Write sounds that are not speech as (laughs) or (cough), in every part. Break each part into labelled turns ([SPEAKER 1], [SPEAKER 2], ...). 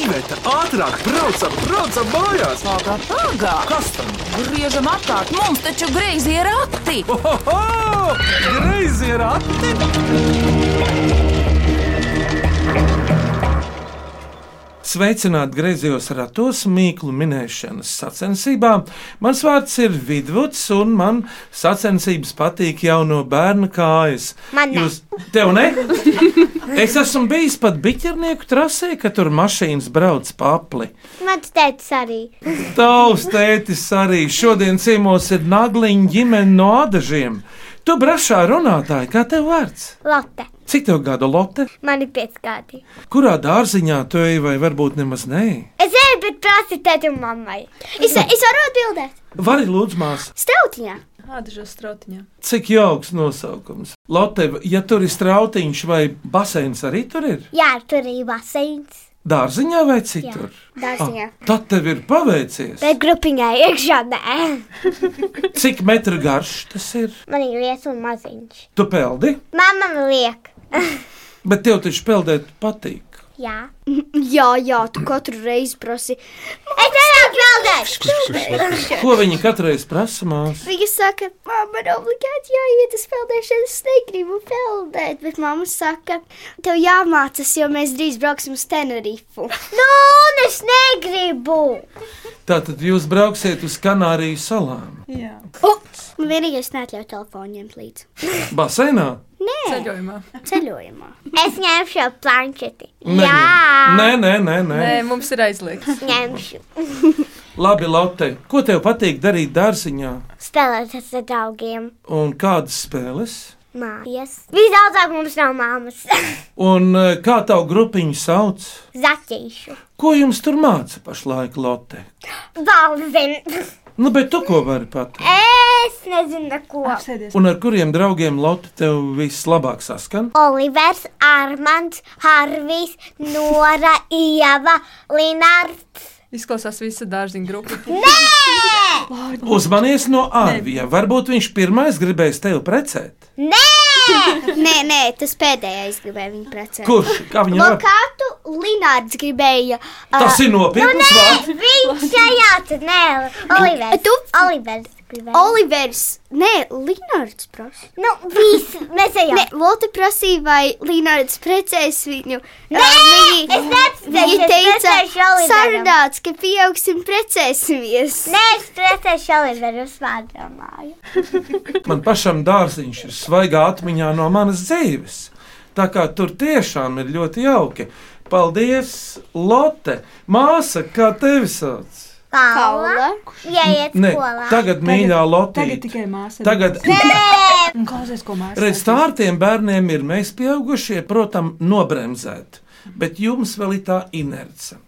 [SPEAKER 1] Iveta, ātrāk, braucam, braucam mājās!
[SPEAKER 2] Pagā, pagā!
[SPEAKER 1] Kas tam?
[SPEAKER 2] Griežam apkārt, mums taču greizi ir akti!
[SPEAKER 1] Ohoho! Greizi ir ati!
[SPEAKER 3] Sveicināti griezījos ratos mīklu minēšanas sacensībā. Mans vārds ir Vidvuds, un man sacensības patīk jau no bērna kājas.
[SPEAKER 4] Man ne.
[SPEAKER 3] tev
[SPEAKER 4] (laughs)
[SPEAKER 3] ne? Es esmu bijis pat biķernieku trasē, kad tur mašīnas brauc papli.
[SPEAKER 4] Mans tēvs arī.
[SPEAKER 3] Tavs tētis arī šodien ciemos ir nagliņa ģimene no adažiem. Tu brašā runātāji, kā tev vārds?
[SPEAKER 4] Lotte,
[SPEAKER 3] Cik tev gada lote?
[SPEAKER 4] man ir pieci gadi.
[SPEAKER 3] Kurā dārziņā tu ej vai varbūt nemaz neej?
[SPEAKER 4] Es eju, bet prasu tētim mammai. Es, es varu atbildēt.
[SPEAKER 3] Vari lūdzu mās!
[SPEAKER 4] Stautiņā.
[SPEAKER 5] Ādažos strautiņā.
[SPEAKER 3] Cik jauks nosaukums. Lotte, ja tur ir strautiņš vai baseins, arī tur ir
[SPEAKER 4] Jā, tur ir baseins.
[SPEAKER 3] dārziņā vai citur?
[SPEAKER 4] Dārziņā.
[SPEAKER 3] Ah, tad tev ir paveicies.
[SPEAKER 4] Bet grupiņā iekšā nē.
[SPEAKER 3] Cik metru garš tas ir?
[SPEAKER 4] Man ir liels un maziņš.
[SPEAKER 3] Tu peldi,
[SPEAKER 4] Mamma man liek. (laughs)
[SPEAKER 3] bet tev taču peldēt patīk.
[SPEAKER 4] Jā.
[SPEAKER 6] Jā, jā, tu katru reizi prasi.
[SPEAKER 4] Es nevaru atbildēt.
[SPEAKER 3] Ko viņi katreiz prasa mās?
[SPEAKER 6] Viņa saka, mamma, ir obligāti jāiet uz peldēšanu. Es negribu peldēt, bet mamma saka, tev jāmācās, jo mēs drīz brauksim uz Tenerifu.
[SPEAKER 4] (laughs) Nu, un es negribu.
[SPEAKER 3] Tātad jūs brauksiet uz Kanāriju salām.
[SPEAKER 5] Jā,
[SPEAKER 6] Man vienīgais neatļauj telefonu ņemt līdzi.
[SPEAKER 3] Baseinā?
[SPEAKER 5] ceļojumā.
[SPEAKER 6] Ceļojumā.
[SPEAKER 4] (laughs) Es ņemšu planšeti.
[SPEAKER 3] Neņem.
[SPEAKER 4] Jā,
[SPEAKER 3] Nē, nē, nē, nē.
[SPEAKER 5] Nē, mums ir aizliegts.
[SPEAKER 4] ņemšu.
[SPEAKER 3] Labi, Lotte, ko tev patīk darīt dārziņā?
[SPEAKER 4] Spēlēties ar draugiem.
[SPEAKER 3] Un kādas spēles?
[SPEAKER 4] Mājas. Visdaudzāk mums nav māmas. (laughs)
[SPEAKER 3] Un eh, kā tavu grupiņu sauc?
[SPEAKER 4] Zaķīšu.
[SPEAKER 3] Ko jums tur māca pašlaik, Lotte?
[SPEAKER 4] Balzin.
[SPEAKER 3] Nu, bet tu ko vari pateikt?
[SPEAKER 4] Es nezinu, ko.
[SPEAKER 5] Apsēdies.
[SPEAKER 3] Un ar kuriem draugiem Lotte tev vislabāk saskan?
[SPEAKER 4] Olivers, Armands, Harvijs, Nora, Ieva, Linārds.
[SPEAKER 5] Izklausās visa dārziņa grupa.
[SPEAKER 3] Uzmanies no Arvija. Varbūt viņš pirmais gribēs tevi precēt.
[SPEAKER 6] Nē, nē, tas pēdējais gribēja viņu precēt.
[SPEAKER 3] Kurš? Kā viņam var?
[SPEAKER 6] Lokātu Linārds gribēja.
[SPEAKER 3] Tas ir nopietns vārds.
[SPEAKER 4] Viņš šajā tad nē, Olivers.
[SPEAKER 6] Tu?
[SPEAKER 4] Olivers. gribēja.
[SPEAKER 6] Olivers, nē, Linārds prasa.
[SPEAKER 4] Nu, viss, mēs ejam.
[SPEAKER 6] Nē, Lotte prasīja, vai Linārds precēs viņu.
[SPEAKER 4] Nē, es neprecēšos,
[SPEAKER 6] Viņa
[SPEAKER 4] es
[SPEAKER 6] teica,
[SPEAKER 4] precēšu Oliveram.
[SPEAKER 6] sarunāts, ka pieaugsim precēsimies.
[SPEAKER 4] Nē, es precēšu Oliveru uz vārdomāju.
[SPEAKER 3] Man pašam dārziņš ir svaigā atmiņā no manas dzīves. Tā kā tur tiešām ir ļoti jauki. Paldies, Lotte! Māsa, kā tevi sauc?
[SPEAKER 4] Paula,
[SPEAKER 6] Paula.
[SPEAKER 4] ieiet
[SPEAKER 3] Nē,
[SPEAKER 4] skolā.
[SPEAKER 3] tagad mīļā Lotte.
[SPEAKER 5] Tagad tikai māsa.
[SPEAKER 3] Tagad
[SPEAKER 5] Un klausies, ko māsa.
[SPEAKER 3] Redz, tā ar tiem bērniem ir mēs pieaugušie, protams, nobremzēt. Bet jums vēl ir tā inerce.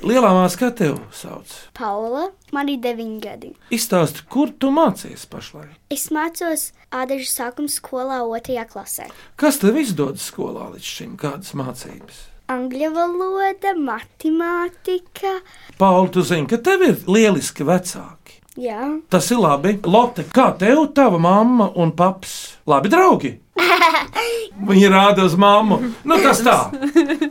[SPEAKER 3] Lielā māsā, kā tevi sauc?
[SPEAKER 6] Paula, man ir 9 gadi.
[SPEAKER 3] Izstāsti, kur tu mācies pašlaik?
[SPEAKER 6] Es mācos Ādaņu sākuma skolā 2. klasē.
[SPEAKER 3] Kas tev izdodas skolā līdz šim? Kādas mācības?
[SPEAKER 6] Angļu valoda, matemātika.
[SPEAKER 3] Pauli, tu zini, ka tev ir lieliski vecāki.
[SPEAKER 6] Jā,
[SPEAKER 3] Tas ir labi. Lotte, kā tev, tava mamma un paps? Labi, draugi! Viņa rāda uz mammu. Nu, kas tā?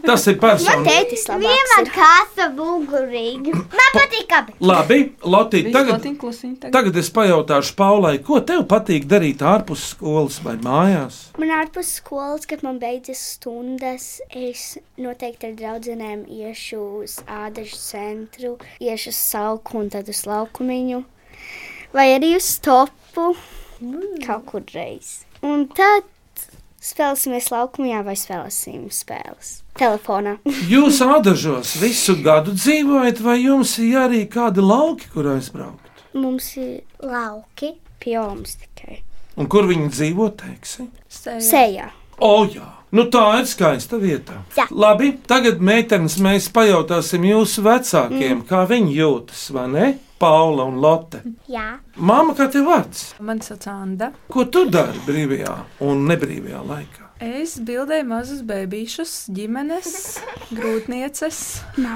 [SPEAKER 3] Tas ir
[SPEAKER 6] man
[SPEAKER 3] personīgi.
[SPEAKER 6] tētis labāks.
[SPEAKER 4] Vienmēr kāsa bulgurīgi. Man patīk abi.
[SPEAKER 3] Labi, Lotte, tagad
[SPEAKER 5] Tagad klusiņ. Tagad.
[SPEAKER 3] Tagad es pajautāšu Paulai, ko tev patīk darīt ārpus skolas vai mājās?
[SPEAKER 6] Man ārpus skolas, kad man beidzas stundas, es noteikti ar draugiem iešu uz Ādaņu centru, iešu uz salku un tad uz laukumiņu. Vai arī uz topu kaut kur reiz. Un tad spēlēsimies laukumā vai spēlēsim spēles telefonā.
[SPEAKER 3] Jūs ādažos visu gadu dzīvojat, vai jums ir arī kādi lauki, kur aizbraukt?
[SPEAKER 6] Mums ir
[SPEAKER 4] Lauki.
[SPEAKER 6] pieejams tikai
[SPEAKER 3] Un kur viņi dzīvo, teiksim?
[SPEAKER 5] Sēdi.
[SPEAKER 6] sejā.
[SPEAKER 3] O, jā, nu tā ir skaista vieta.
[SPEAKER 4] Jā.
[SPEAKER 3] Labi, tagad, meitenes, mēs pajautāsim jūsu vecākiem, mm. kā viņi jūtas, vai ne? Paula un Lotte.
[SPEAKER 4] Jā.
[SPEAKER 3] Māma, kā tev vārds?
[SPEAKER 5] Man sauc Anda.
[SPEAKER 3] Ko tu dari brīvajā un nebrīvajā laikā?
[SPEAKER 5] Es bildēju mazus bērnus, ģimenes, grūtnieces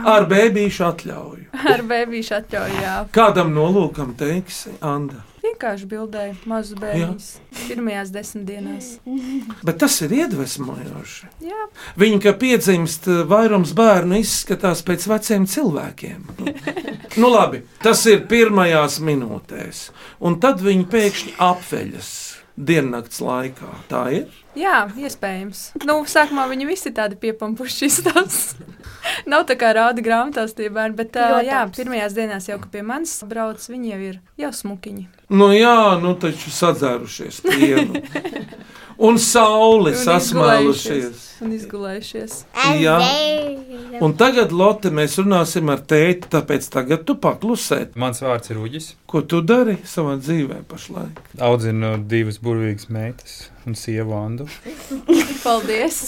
[SPEAKER 3] Ar bērnu atļauju.
[SPEAKER 5] ar bērnu atļaujā.
[SPEAKER 3] Kādam nolūkam teiksi, Anda?
[SPEAKER 5] vienkārši bildēju mazus bērnus. Pirmajās desmit dienās.
[SPEAKER 3] Bet tas ir iedvesmojoši.
[SPEAKER 5] Jā,
[SPEAKER 3] Viņa, kad piedzimst, eh, vairums bērnu izskatās pēc veciem cilvēkiem. Nu, labi, tas ir pirmajās minūtēs. Un tad viņi pēkšņi apveļas diennakts laikā. Tā ir.
[SPEAKER 5] jā iespējams. Nu, sākumā viņi visi tādi piepampuši izstāsts. (laughs) Nav tā kā rāda grāmatās tie bērni, bet uh, jā,
[SPEAKER 4] Protams.
[SPEAKER 5] pirmajās dienās jau, kad pie manis brauc, viņi jau ir jau smukiņi.
[SPEAKER 3] Nu, jā, nu taču sadzērušies pienu. Un saule
[SPEAKER 5] Un
[SPEAKER 3] sasmēlušies.
[SPEAKER 5] Un izgulējušies.
[SPEAKER 3] Jā.
[SPEAKER 4] Zinu.
[SPEAKER 3] Un tagad, Lotte, mēs runāsim ar tēti, tāpēc tagad tu paklusē.
[SPEAKER 7] Mans vārds ir Uģis.
[SPEAKER 3] Ko tu dari savā dzīvē pašlaik?
[SPEAKER 7] Audzinu divas burvīgas meitas un sievu Andu.
[SPEAKER 5] Paldies!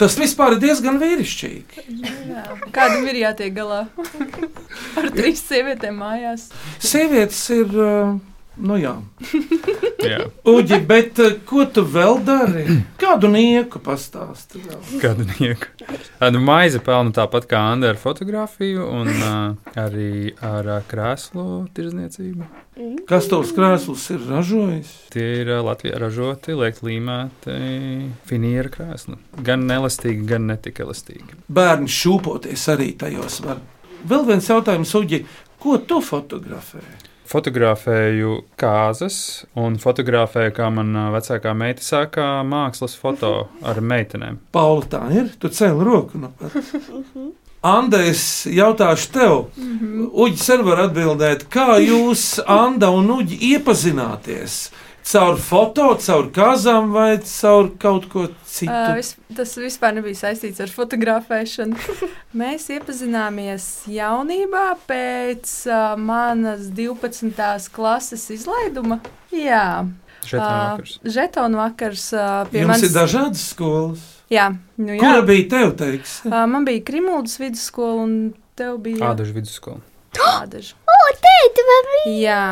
[SPEAKER 3] Tas vispār ir diezgan vīrišķīgi.
[SPEAKER 5] Kādam ir jātiek galā ar trīs sievietēm mājās?
[SPEAKER 3] Sievietes ir, uh, nu jā.
[SPEAKER 7] Jā,
[SPEAKER 3] Uģi, bet eh, ko tu vēl dari? Kādu nieku pastāsti? vēl?
[SPEAKER 7] kādu nieku. Ā, Nu, maize pelna tāpat kā Anna ar fotografiju un uh, arī ar uh, krēslu tirzniecību.
[SPEAKER 3] Kas tavs krēsls ir ražojis?
[SPEAKER 7] Tie ir uh, Latvijā ražoti, liekt līmēti finiera krēsli. Gan elastīgi, gan netik elastīgi.
[SPEAKER 3] Bērni šūpoties arī tajos var. Vēl viens jautājums, Uģi, ko tu fotografē?
[SPEAKER 7] Fotografēju kārtas un fotografēju, kā manā vecākā meita sākā mākslas foto ar meitenēm.
[SPEAKER 3] Paula, tā ir. Tu cēli roku no pat. Anda, es jautāšu tev,
[SPEAKER 5] Mhm.
[SPEAKER 3] Uģis arī var atbildēt, kā jūs, Anda un Uģi, iepazināties? Caur foto, caur kazām vai caur kaut ko citu?
[SPEAKER 5] Uh, vis, tas vispār nebija saistīts ar fotografēšanu.
[SPEAKER 3] (laughs)
[SPEAKER 5] Mēs iepazināmies jaunībā pēc uh, manas 12. klases izlaiduma. Jā,
[SPEAKER 7] Šeit ir vakars.
[SPEAKER 5] žetonu vakars uh, pie
[SPEAKER 3] Jums ir
[SPEAKER 5] manis.
[SPEAKER 3] dažādas skolas.
[SPEAKER 5] Jā, nu jā.
[SPEAKER 3] Kur bija tev teiks?
[SPEAKER 5] Uh, man bija Krimūdas vidusskola un tev bija
[SPEAKER 7] Ādažu vidusskola.
[SPEAKER 5] Ādaža.
[SPEAKER 4] (gasps) O, tēti, man bija.
[SPEAKER 5] Jā,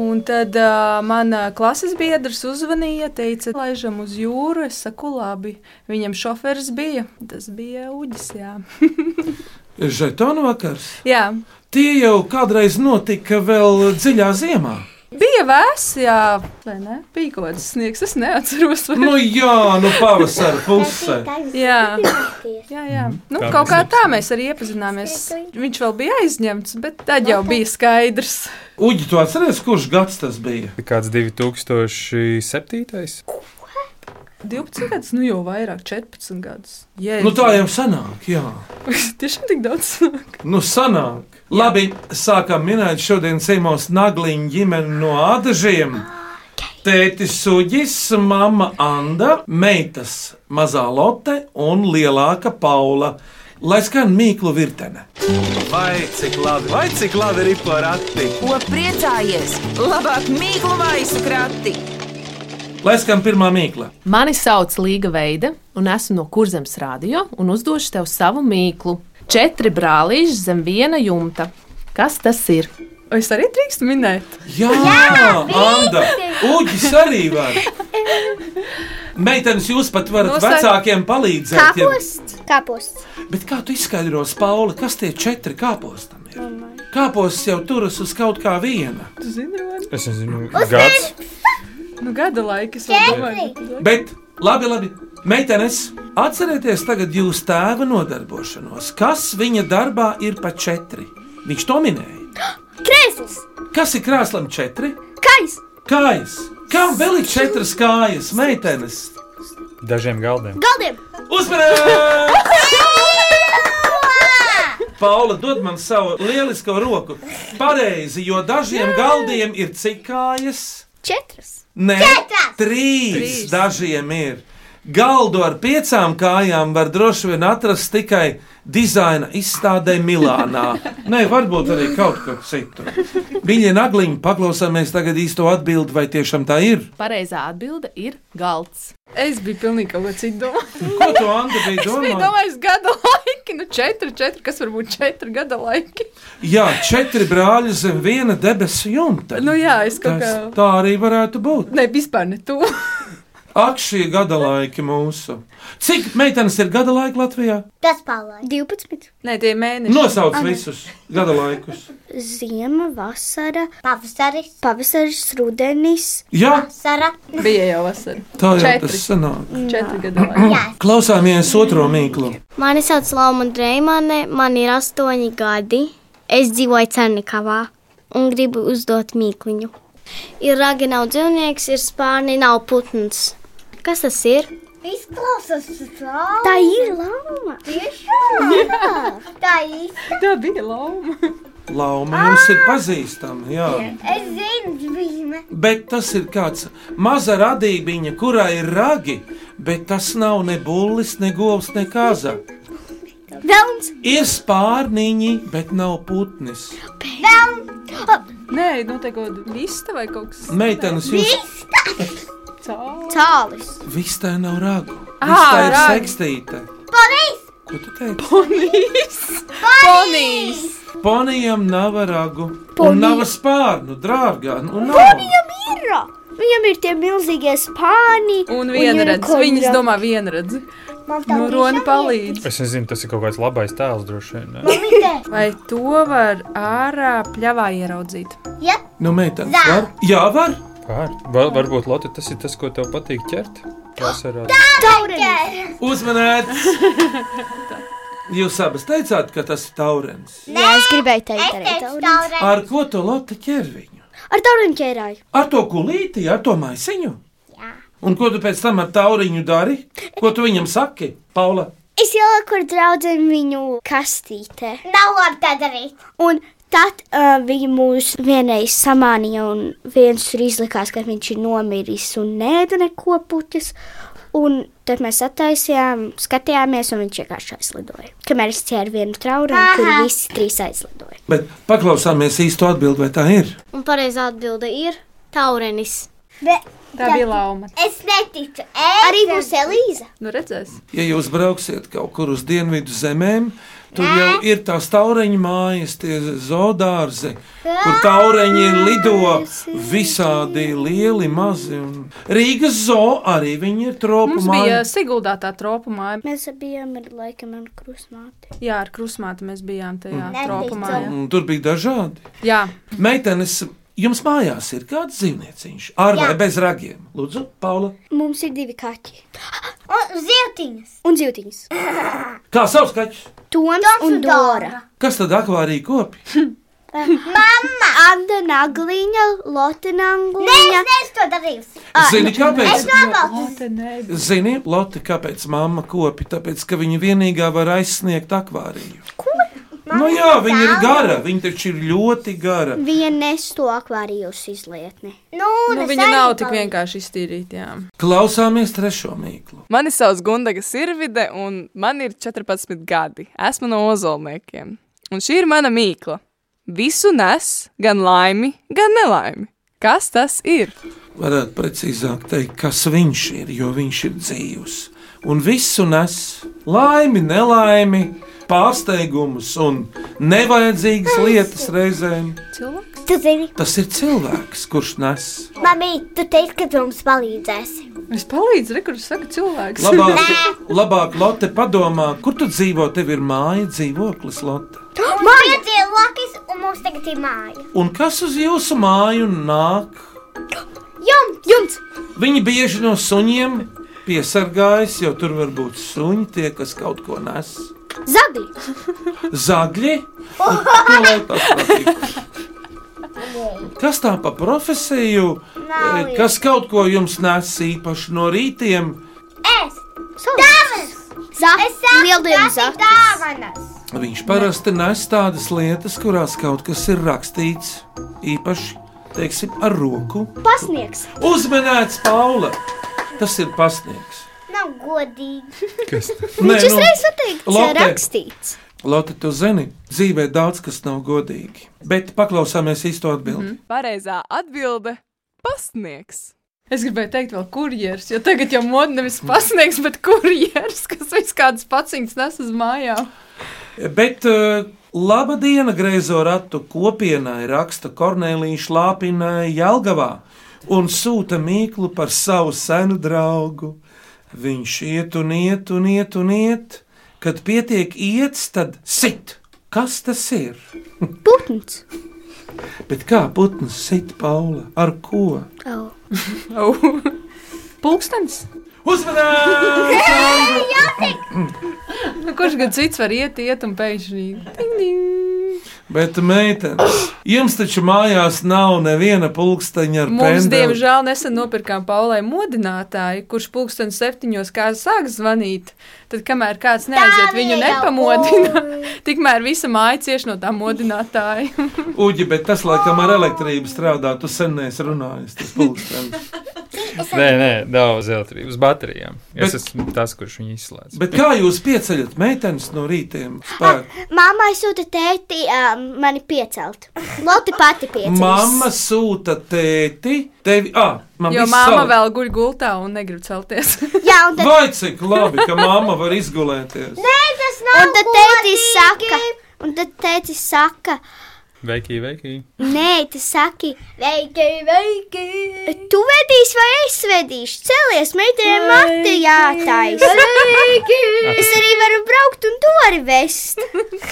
[SPEAKER 5] un tad uh, mana klases biedrs uzzvanīja, teica, laižam uz jūru. Es saku, labi, viņam šoferis bija. Tas bija Uģis. Jā,
[SPEAKER 3] Žetonu vakars.
[SPEAKER 5] jā.
[SPEAKER 3] Tie jau kādreiz notika vēl dziļā ziemā.
[SPEAKER 5] bija vēss, jā, vai ne? Bija kaut kāds sniegs, es neatceros.
[SPEAKER 4] (laughs)
[SPEAKER 5] vai-
[SPEAKER 3] Nu jā, nu pavasara pusē.
[SPEAKER 5] Jā.
[SPEAKER 4] Tagad
[SPEAKER 5] Jā, jā. Nu,
[SPEAKER 7] Kā
[SPEAKER 5] kaut
[SPEAKER 7] mēs
[SPEAKER 5] kā tā mēs arī iepazināmies. Viņš vēl bija aizņemts, bet tad jau bija skaidrs.
[SPEAKER 3] Uģi, tu atceries, kurš gads tas bija?
[SPEAKER 7] Kāds 2007.
[SPEAKER 5] 12 gadus, nu jau vairāk, 14 gadus. Jā,
[SPEAKER 3] Nu tā jau sanāk, jā.
[SPEAKER 5] (laughs) tiešām tik daudz.
[SPEAKER 3] Nu sanāk. Labi, sākam minēt šodien ciemos Nagliņu ģimeni no Ādažiem. Tētis Uģis, mama Anda, meitas mazā Lotte un lielāka Paula. Lai skan mīklu virtene.
[SPEAKER 1] Vai cik labi, vai cik labi ir porakti?
[SPEAKER 2] Ko priecājies? Labāk mīklu maisu krati.
[SPEAKER 3] Lai skan pirmā mīkla.
[SPEAKER 8] Mani sauc Līga Veida, un esmu no Kurzemes Rādio, un uzdošu tev savu mīklu. Četri brālīši zem viena jumta. Kas tas ir?
[SPEAKER 5] Es arī drīkstu minēt.
[SPEAKER 3] Jā, Anna, Uģis arī var. Meitenes, jūs pat varat
[SPEAKER 5] Nosaka-
[SPEAKER 3] Nosaka... vecākiem palīdzēt. Ja...
[SPEAKER 4] Kāposts. Kāposts.
[SPEAKER 3] Bet kā tu izskaidros, Pauli, kas tie četri kāpostam ir? Kāposts jau turas uz kaut kā viena,
[SPEAKER 5] Tu zini, Roni?
[SPEAKER 7] Es nezinu, gads.
[SPEAKER 5] Nu, gada laika es vēl domāju.
[SPEAKER 3] bet labi, labi. Meitenes, atcerieties tagad jūs tēva nodarbošanos. Kas viņa darbā ir pa četri? Viņš to minēja.
[SPEAKER 4] Krēsls.
[SPEAKER 3] Kas ir krēslam četri?
[SPEAKER 4] Kais.
[SPEAKER 3] Kājas! Kam vēl ir četras kājas, meitenes?
[SPEAKER 7] Dažiem galdiem.
[SPEAKER 4] Galdiem.
[SPEAKER 3] Uzmanības! Paula dod man savu lielisko roku. Pareizi, jo dažiem galdiem ir cik kājas?
[SPEAKER 4] Četras.
[SPEAKER 3] Nē,
[SPEAKER 4] Četras!
[SPEAKER 3] trīs, trīs. Dažiem ir. Galdu ar piecām kājām var droši vien atrast tikai dizaina izstādē Milānā. Nē, varbūt arī kaut kur citur. Viņa nagliņa paklausāmies tagad īsto atbildi, vai tiešām tā ir.
[SPEAKER 8] Pareizā atbilde ir galds.
[SPEAKER 5] Es biju pilnīgi kaut ko citu domājis.
[SPEAKER 3] Ko tu, Anta, biji
[SPEAKER 5] Es biju
[SPEAKER 3] domājis?
[SPEAKER 5] domājis gada laiki, nu četri, četri, kas varbūt četri gada laiki.
[SPEAKER 3] Jā, četri brāļi zem viena debesu jumta.
[SPEAKER 5] Nu jā, es kaut
[SPEAKER 3] Tas,
[SPEAKER 5] kā.
[SPEAKER 3] tā arī varētu būt.
[SPEAKER 5] Nē, vispār ne tu.
[SPEAKER 3] Ak, šie gada laiki mūsu. Cik meitenes ir gada laika Latvijā?
[SPEAKER 4] Gaspārlai.
[SPEAKER 6] 12.
[SPEAKER 5] Nē, tie ir mēneši.
[SPEAKER 3] Nosauc visus gada laikus.
[SPEAKER 6] Ziema, vasara,
[SPEAKER 4] Pavasaris.
[SPEAKER 6] pavasaris, rudenis.
[SPEAKER 3] Jā,
[SPEAKER 4] Vasara.
[SPEAKER 5] Bija jau vasara.
[SPEAKER 3] tā jau
[SPEAKER 5] Četri.
[SPEAKER 3] tas sanāk.
[SPEAKER 5] Četri gadi. laikā.
[SPEAKER 3] Klausāmies otro mīklu.
[SPEAKER 4] Mani sauc Lapa Dreimane, man ir astoņi gadi. Es dzīvoju Cernikavā un gribu uzdot mīkluņu. Ir ragi, nav dzīvnieks, ir spārni, nav putns. Kas tas ir?
[SPEAKER 6] Izklausās,
[SPEAKER 4] Tā ir
[SPEAKER 6] lama.
[SPEAKER 4] tā īsta.
[SPEAKER 5] Tā bija lauma.
[SPEAKER 3] Lauma jums ir pazīstama. Jā.
[SPEAKER 4] Es zinu, zīme.
[SPEAKER 3] Bet tas ir kāds maza radībiņa, kurā ir ragi, bet tas nav ne bullis, ne govs, ne kaza.
[SPEAKER 4] Velns,
[SPEAKER 3] Ir spārniņi, bet nav putnis.
[SPEAKER 5] Nē, nu tā kaut kāda vista vai kaut
[SPEAKER 3] Mm.
[SPEAKER 5] kas
[SPEAKER 3] Meitenes jūs
[SPEAKER 5] tāds.
[SPEAKER 4] tālis,
[SPEAKER 3] vistē nav ragu.
[SPEAKER 5] Ā,
[SPEAKER 3] Vistē ir
[SPEAKER 5] ragi.
[SPEAKER 3] sekstīte.
[SPEAKER 4] ponijs,
[SPEAKER 3] Ko tu teici?
[SPEAKER 5] Ponijs! Ponijs!
[SPEAKER 3] Ponijam nav ragu. Un nav spārnu, dārgā. Un nav.
[SPEAKER 6] Mira! Viņam ir tie milzīgie spāni.
[SPEAKER 5] Un vienredz.
[SPEAKER 6] unicorni.
[SPEAKER 5] Viņas domā vienredz.
[SPEAKER 4] man
[SPEAKER 5] Nu, Rona palīdz.
[SPEAKER 7] Es nezinu, tas ir kaut kāds labais tēls droši vien. ne?
[SPEAKER 6] (laughs)
[SPEAKER 4] palīdz.
[SPEAKER 5] Vai to var ārā pļavā ieraudzīt?
[SPEAKER 4] Jā,
[SPEAKER 3] Nu, meitenes, var? Jā, var.
[SPEAKER 7] Kā? Var, varbūt Lotte, tas ir tas, ko tev patīk ķert. Vasarā.
[SPEAKER 4] taurenis.
[SPEAKER 3] Uzmanēts! Jūs abas teicāt, ka tas ir taurens.
[SPEAKER 6] Jā, es gribēju teikt, arī tauriņu.
[SPEAKER 4] taurenis.
[SPEAKER 3] Ar ko tu loti ķerviņu?
[SPEAKER 6] Ar tauriņu ķērāju.
[SPEAKER 3] Ar to kulīti, ar to maisiņu? Jā. Un ko tu pēc tam ar tauriņu dari? Ko tu viņam saki, Paula?
[SPEAKER 6] Es ieliku ar draugu viņu kastītē.
[SPEAKER 4] Nav labi tā darīt.
[SPEAKER 6] Un tad uh, viņi mūs vienreiz samānīja, un viens tur izlikās, ka viņš ir nomiris un nēda neko puķis. Un tad mēs attaisījām, skatījāmies, un viņš vienkārši aizlidoja. Kamēr es ķēru vienu trauru, un tur visi trīs aizlidoja.
[SPEAKER 3] Bet paklausāmies īsto atbildi, vai tā ir?
[SPEAKER 4] Un pareizā atbilde ir taurenis.
[SPEAKER 5] Tā bija lauma.
[SPEAKER 4] Es neticu. Es Arī būs Elīza.
[SPEAKER 5] Nu, redzēs.
[SPEAKER 3] Ja jūs brauksiet kaut kur uz dienvidu zemēm, tur Nē. jau ir tās taureņu mājas, tie zoodārzi, kur taureņi lido visādi lieli, mazi. Un... Rīgas zoo arī viņi ir tropu
[SPEAKER 5] Mums bija
[SPEAKER 3] māja.
[SPEAKER 5] Siguldā tā tropu māja.
[SPEAKER 6] Mēs bijām ar laikam ar krusmāti.
[SPEAKER 5] Jā, ar krusmāti mēs bijām tajā
[SPEAKER 3] Mm.
[SPEAKER 4] Neticu.
[SPEAKER 5] tropu mājā.
[SPEAKER 3] Un tur bija dažādi.
[SPEAKER 5] Jā,
[SPEAKER 3] Meitenes, jums mājās ir kāds zīmnieciņš ar vai
[SPEAKER 4] Jā.
[SPEAKER 3] bez ragiem? Lūdzu, Paula.
[SPEAKER 6] Mums ir divi kaķi
[SPEAKER 4] Un ziltiņas.
[SPEAKER 6] un zīltiņas.
[SPEAKER 3] Kā savs kaķis?
[SPEAKER 6] Toms, Toms un Dora.
[SPEAKER 3] Kas tad akvārija kopi?
[SPEAKER 6] Anna Nagliņa, Lotina
[SPEAKER 4] Nē,
[SPEAKER 6] Angliņa.
[SPEAKER 4] es neesmu to darījusi.
[SPEAKER 3] Zini, kāpēc?
[SPEAKER 4] Es nobalstu.
[SPEAKER 5] tā nebija.
[SPEAKER 3] Zini, Lotte, kāpēc mamma kopi? Tāpēc, ka viņa vienīgā var aizsniegt akvāriju. Ko? Nu jā, viņa ir gara, viņa taču ir ļoti gara.
[SPEAKER 6] Viņa nes to akvārijus izlietni.
[SPEAKER 4] Nu,
[SPEAKER 5] Nu,
[SPEAKER 4] es
[SPEAKER 5] viņa
[SPEAKER 4] arī
[SPEAKER 5] nav tik
[SPEAKER 4] palīdzu.
[SPEAKER 5] vienkārši iztīrīta. jā.
[SPEAKER 3] Klausāmies trešo mīklu.
[SPEAKER 9] Mani sauc Gundaga Sirvide, un man ir 14 gadi. Esmu no ozolniekiem. Un šī ir mana mīkla. Visu nes gan laimi, gan nelaimi. Kas tas ir?
[SPEAKER 3] Varētu precīzāk teikt, kas viņš ir, jo viņš ir dzīvs. Un visu nes laimi, nelaimi, pārsteigumus un nevajadzīgas lietas reizēm.
[SPEAKER 5] Cilvēks?
[SPEAKER 4] Tu zini,
[SPEAKER 3] Tas ir cilvēks, kurš nes.
[SPEAKER 4] mamī, tu teici, ka tu mums palīdzēsi.
[SPEAKER 5] Es palīdzu, rekurors saka, cilvēks. (laughs)
[SPEAKER 3] Labāk, labāk Lotte, padomā, kur tu dzīvo? Tev ir māja, dzīvoklis, Lotte.
[SPEAKER 4] Mums bija dzīvoklis, un mums tagad ir māja.
[SPEAKER 3] Un kas uz jūsu māju nāk?
[SPEAKER 4] Jums! Jums!
[SPEAKER 3] Viņi bieži no suņiem piesargājas, jo tur var būt suņi, tie, kas kaut ko nes.
[SPEAKER 4] Zagļi!
[SPEAKER 3] Zagļi! Un ko vēl tas patīk? Kas tā pa profesiju,
[SPEAKER 4] Nav
[SPEAKER 3] eh, kas kaut ko jums nes īpaši no rītiem?
[SPEAKER 4] Es! Dāvanas! Es saku,
[SPEAKER 6] Lieldienas
[SPEAKER 4] tas ir dāvanas!
[SPEAKER 3] Viņš parasti nes tādas lietas, kurās kaut kas ir rakstīts īpaši, teiksim, ar roku.
[SPEAKER 6] Pasniegs.
[SPEAKER 3] Uzmanīts, Paula! Tas ir pasniegs.
[SPEAKER 4] Nav godīgi.
[SPEAKER 3] Nē, nu,
[SPEAKER 6] Viņš uzreiz pateiks, kas
[SPEAKER 3] Lotte.
[SPEAKER 6] ir rakstīts.
[SPEAKER 3] Lotte, tu zini, dzīvē daudz kas nav godīgi. Bet paklausāmies īsto atbildi. Mm.
[SPEAKER 9] Pareizā atbilde - pasniegs.
[SPEAKER 5] Es gribēju teikt, vēl kurjers, jo tagad jau moda nevis pasniegs, bet kurjers, kas viskādas paciņas nes uz mājām.
[SPEAKER 3] Bet uh, laba diena grēzo ratu kopienai raksta Kornelija Šlāpina Jelgavā. un sūta mīklu par savu senu draugu. Viņš iet un iet un iet un iet, kad pietiek iet, tad sit. Kas tas ir? (laughs)
[SPEAKER 6] Putns.
[SPEAKER 3] Bet kā putns sit Paula? Ar ko?
[SPEAKER 6] Oh.
[SPEAKER 5] Pūkstens.
[SPEAKER 3] (laughs) Uzmanības!
[SPEAKER 5] Nu, kurš gan cits var iet, iet un pēkšņi? Ding, ding.
[SPEAKER 3] Bet, meitenes, jums taču mājās nav neviena pulksteņa ar
[SPEAKER 5] Mums,
[SPEAKER 3] pendeli.
[SPEAKER 5] diemžēl, nesen nopirkām Paulai modinātāju, kurš pulkstens septiņos kā sāk zvanīt. Tad, kamēr kāds neaiziet, viņu nepamodina. (laughs) Tikmēr visa māja cieš no tā modinātāja.
[SPEAKER 3] Uģi, bet tas laikam ar elektrību strādā. Tu sen neesi runājis, tas
[SPEAKER 5] (laughs)
[SPEAKER 3] pulkstenis.
[SPEAKER 7] Nē, nē, daudz elektrības baterijām. Es
[SPEAKER 3] Bet-
[SPEAKER 7] esmu tas, kurš viņu izslēdz.
[SPEAKER 3] Bet kā jūs pieceļat meitenes no rītiem?
[SPEAKER 5] Ah,
[SPEAKER 3] Spēku?
[SPEAKER 6] Māmai sūta tēti uh, mani piecelt. Lotte pati piecelt.
[SPEAKER 3] Mamma sūta tēti, tevi. Ah, man
[SPEAKER 5] Jo
[SPEAKER 3] viss
[SPEAKER 5] māma
[SPEAKER 3] sauc.
[SPEAKER 5] vēl guļ gultā un negrib celties. (laughs)
[SPEAKER 6] Jā, un tad,
[SPEAKER 3] Vai cik labi, ka mamma var izgulēties? Nē.
[SPEAKER 6] un tad tēti saka, un tad tēti saka,
[SPEAKER 7] Veikī, veikī.
[SPEAKER 6] nē, tu saki, veiki, veiki. Tu vedīsi vai es vedīšu? Celies, meitenēm mati jātaisa. Veiki. Es arī varu braukt un tu vari vest.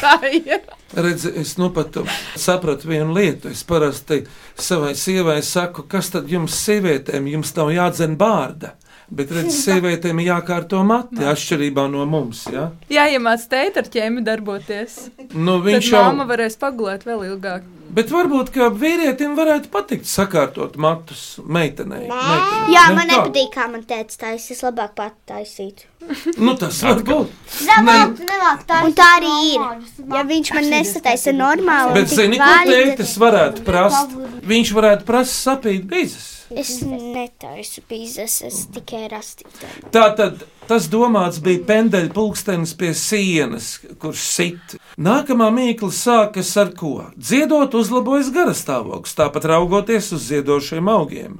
[SPEAKER 5] Tā ir.
[SPEAKER 3] Redzi, es nu pat sapratu vienu lietu. Es parasti savai sievai saku, kas tad jums, sievietēm, jums nav jādzen bārda. Bet, redziet, sievietēm ir jākārto mati atšķirībā no mums. Ja?
[SPEAKER 5] Jāiemāc teikt ar ķēmi darboties.
[SPEAKER 3] Nu,
[SPEAKER 5] Tad
[SPEAKER 3] viņš jau
[SPEAKER 5] māma varēs pagulēt vēl ilgāk.
[SPEAKER 3] Bet varbūt, ka vīrietim varētu patikt sakārtot matus meitenei. Meitenei.
[SPEAKER 6] Jā,
[SPEAKER 3] Ne
[SPEAKER 6] man
[SPEAKER 3] kā?
[SPEAKER 6] nepatīk, kā man tēta taisa. Es labāk pat taisītu.
[SPEAKER 3] Nu, tas var būt.
[SPEAKER 6] Labāk, labāk taisīt. Un tā arī ir. Ja viņš man nesataisa normāli,
[SPEAKER 3] Bet,
[SPEAKER 6] tik
[SPEAKER 3] zini, ko
[SPEAKER 6] vaļ, tad-
[SPEAKER 3] tētis varētu prasīt? Viņš varētu prasīt sapīt bizes.
[SPEAKER 6] Es netaisu pīzes, es tikai rastīju.
[SPEAKER 3] Tā tad tas domāts bija pendeļpulkstenis pie sienas, kurš sit. Nākamā mīkla sākas ar ko? Dziedot uzlabojas garastāvoklis, tāpat raugoties uz ziedošiem augiem.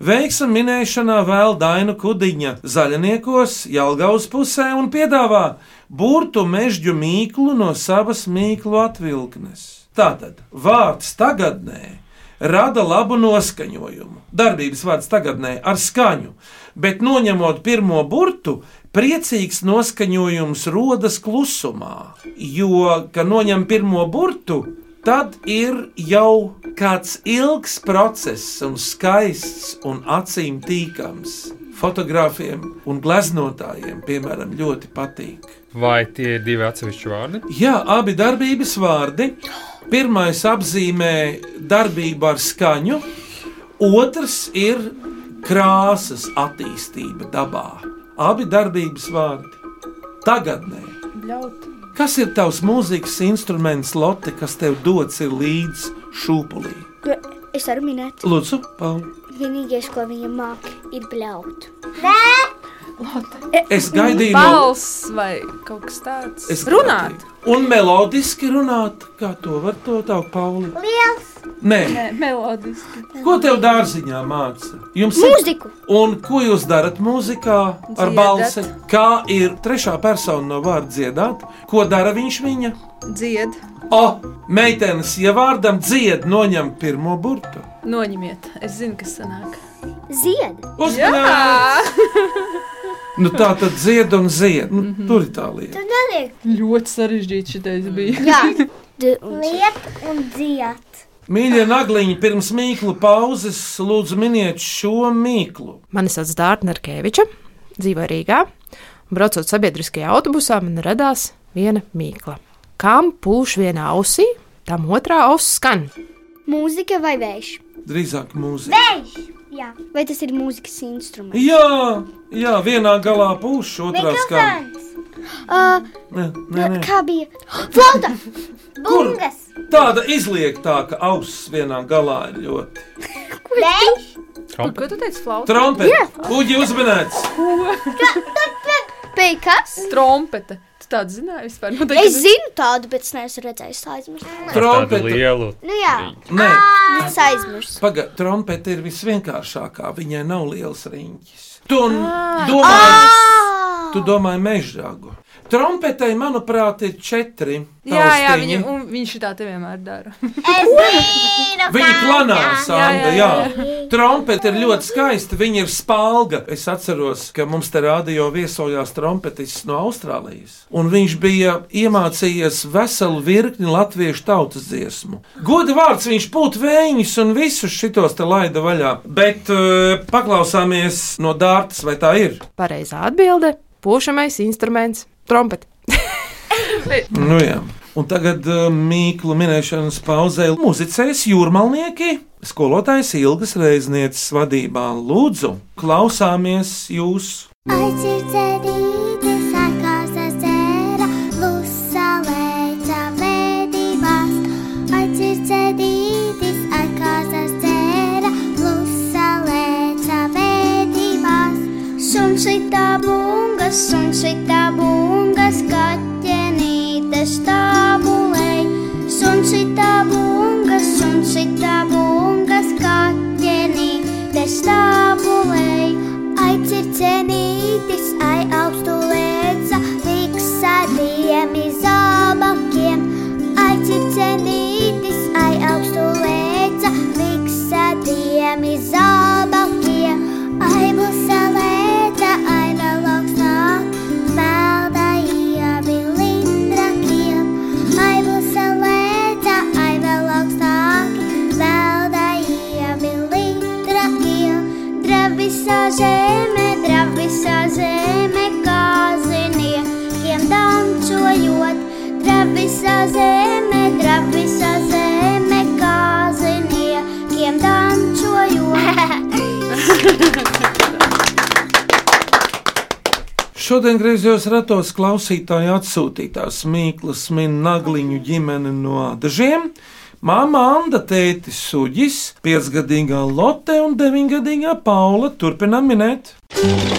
[SPEAKER 3] Veiksa minēšanā vēl Dainu Kudiņa zaļniekos, Jālgaus pusē un piedāvā burtu mežģu mīklu no savas mīklu atvilknes. Tātad vārds tagadnē rada labu noskaņojumu. Darbības vārds tagadnē ar skaņu, bet noņemot pirmo burtu, priecīgs noskaņojums rodas klusumā. Jo, kad noņem pirmo burtu, tad ir jau kāds ilgs process, un skaists un acīm tīkams. Fotogrāfiem un gleznotājiem, piemēram, ļoti patīk.
[SPEAKER 7] Vai tie ir divi atsevišķi vārdi?
[SPEAKER 3] Jā, abi darbības vārdi. Pirmais apzīmē darbību ar skaņu, otrs ir krāsas attīstība dabā. Abi darbības vārdi tagadnē.
[SPEAKER 5] Ļaut.
[SPEAKER 3] Kas ir tavs mūzikas instruments, Lotte, kas tev dots ir līdz šūpulī?
[SPEAKER 6] Es varu minēt,
[SPEAKER 3] Lūdzu, Pauli.
[SPEAKER 6] vienīgais, ko viņa māca, ir bļaut.
[SPEAKER 5] E,
[SPEAKER 3] Es gaidīju no
[SPEAKER 5] Balss vai kaut kas tāds.
[SPEAKER 3] Es
[SPEAKER 5] runāt.
[SPEAKER 3] gaidīju. Un melodiski runāt, kā to var to tavu, Pauli?
[SPEAKER 6] Liels!
[SPEAKER 3] Nē,
[SPEAKER 5] Nē, melodiski.
[SPEAKER 3] ko tev dārziņā māca? Jums ir
[SPEAKER 6] Mūziku!
[SPEAKER 3] Un ko jūs darat mūzikā ar
[SPEAKER 5] Dziedat.
[SPEAKER 3] balsi? Kā ir trešā persona no vārda dziedāt? Ko dara viņš viņa?
[SPEAKER 5] Dzied,
[SPEAKER 3] O, meitenes, ja vārdam dzied, noņem pirmo burtu.
[SPEAKER 5] noņemiet. Es zinu, kas sanāk.
[SPEAKER 6] Zied!
[SPEAKER 3] Uzmanīgi! Nu, tā tad dzied un zied. Nu, Tur ir tā lieta.
[SPEAKER 6] Tu neliek!
[SPEAKER 5] Ļoti sarežģīts šitais bija.
[SPEAKER 6] Jā! Liek un dzied!
[SPEAKER 3] Mīļie nagliņi, pirms mīklu pauzes lūdzu miniet šo mīklu.
[SPEAKER 10] Mani sauc Dārta Nerkeviča, dzīvoju Rīgā. Un Braucot sabiedriskajā autobusā, man radās viena mīkla. Kam pūš viena ausī, tam otrā auss skan.
[SPEAKER 6] Mūzika vai vējš?
[SPEAKER 3] Drīzāk mūzika.
[SPEAKER 6] Jā. Vai tas ir mūzikas instruments?
[SPEAKER 3] Jā, jā, vienā galā pūš, otrā skan.
[SPEAKER 6] Uh,
[SPEAKER 3] Nē, nē, nē.
[SPEAKER 6] kā bija? Flauta!
[SPEAKER 3] Kur?
[SPEAKER 6] Bungas!
[SPEAKER 3] Tāda izliektāka auss vienā galā ir ļoti.
[SPEAKER 6] Vējš!
[SPEAKER 5] Ko tu teici? Flauta?
[SPEAKER 3] Trumpete. Uģi uzmanīts.
[SPEAKER 6] Pēkas!
[SPEAKER 5] Trompete. Tu tādu zināji vispār? Nu, tā,
[SPEAKER 6] Es zinu tādu, bet es neesmu redzējis aizmirst.
[SPEAKER 7] Tādu
[SPEAKER 3] Trumpete.
[SPEAKER 7] lielu.
[SPEAKER 6] Nu jā,
[SPEAKER 3] Nē,
[SPEAKER 5] Ah.
[SPEAKER 6] es aizmirstu.
[SPEAKER 3] pagaidi, trumpete ir visvienkāršākā. Viņai
[SPEAKER 5] Ah.
[SPEAKER 3] nav liels riņķis. Tu n- domāji, tu domāji mežģāgu. Trompetei, manuprāt, ir četri.
[SPEAKER 5] Jā, jā
[SPEAKER 3] austiņi.
[SPEAKER 5] viņa, un viņš tā te vienmēr (laughs) dara.
[SPEAKER 3] Viņa klanās,
[SPEAKER 5] Jā,
[SPEAKER 3] Anna.
[SPEAKER 5] jā,
[SPEAKER 3] Jā, trompete ir ļoti skaista. Viņa ir spalga. Es atceros, ka mums te rādījā viesojās trompetis no Austrālijas. Un viņš bija iemācījies veselu virkni latviešu tautas dziesmu. Goda vārds, viņš pūta vējus un visus šitos te laida vaļā. Bet uh, paklausāmies no dārtas, vai tā ir?
[SPEAKER 11] Pareizā atbilde - pušamais instruments - trompete.
[SPEAKER 3] Nu, jā. un tagad uh, mīklu minēšanas pauzē muzicēs jūrmalnieki. Skolotājs Ilgas Reiznieces vadībā lūdzu, klausāmies jūs!
[SPEAKER 12] Sunčitā bungas, sunčitā bungas, kaķenīte stābulei. Sunčitā bungas, sunčitā bungas, kaķenīte stābulei. Ai, circenītis, ai, augstu lēca, fiksādiem izabakiem. Ai, circenītis, ai, augstu lēca, fiksādiem izabakiem. Ai, musa lēca, ai, nelauks nāk, melda ievi lindrakiem. Ai, musa lēca, ai, nelauks nāk, melda ievi lindrakiem. Dravisa zeme, dravisa zeme, kāziniekiem dančojot. Dravisa zeme, dravisa zeme, kāziniekiem dančojot.
[SPEAKER 3] Šodien griezos ratos klausītāju atsūtītās Mīklas Minnagliņu ģimene no dažiem. Māma Anna, tētis Suģis, 5-gadīgā Lotte un 9-gadīgā Paula turpinām minēt.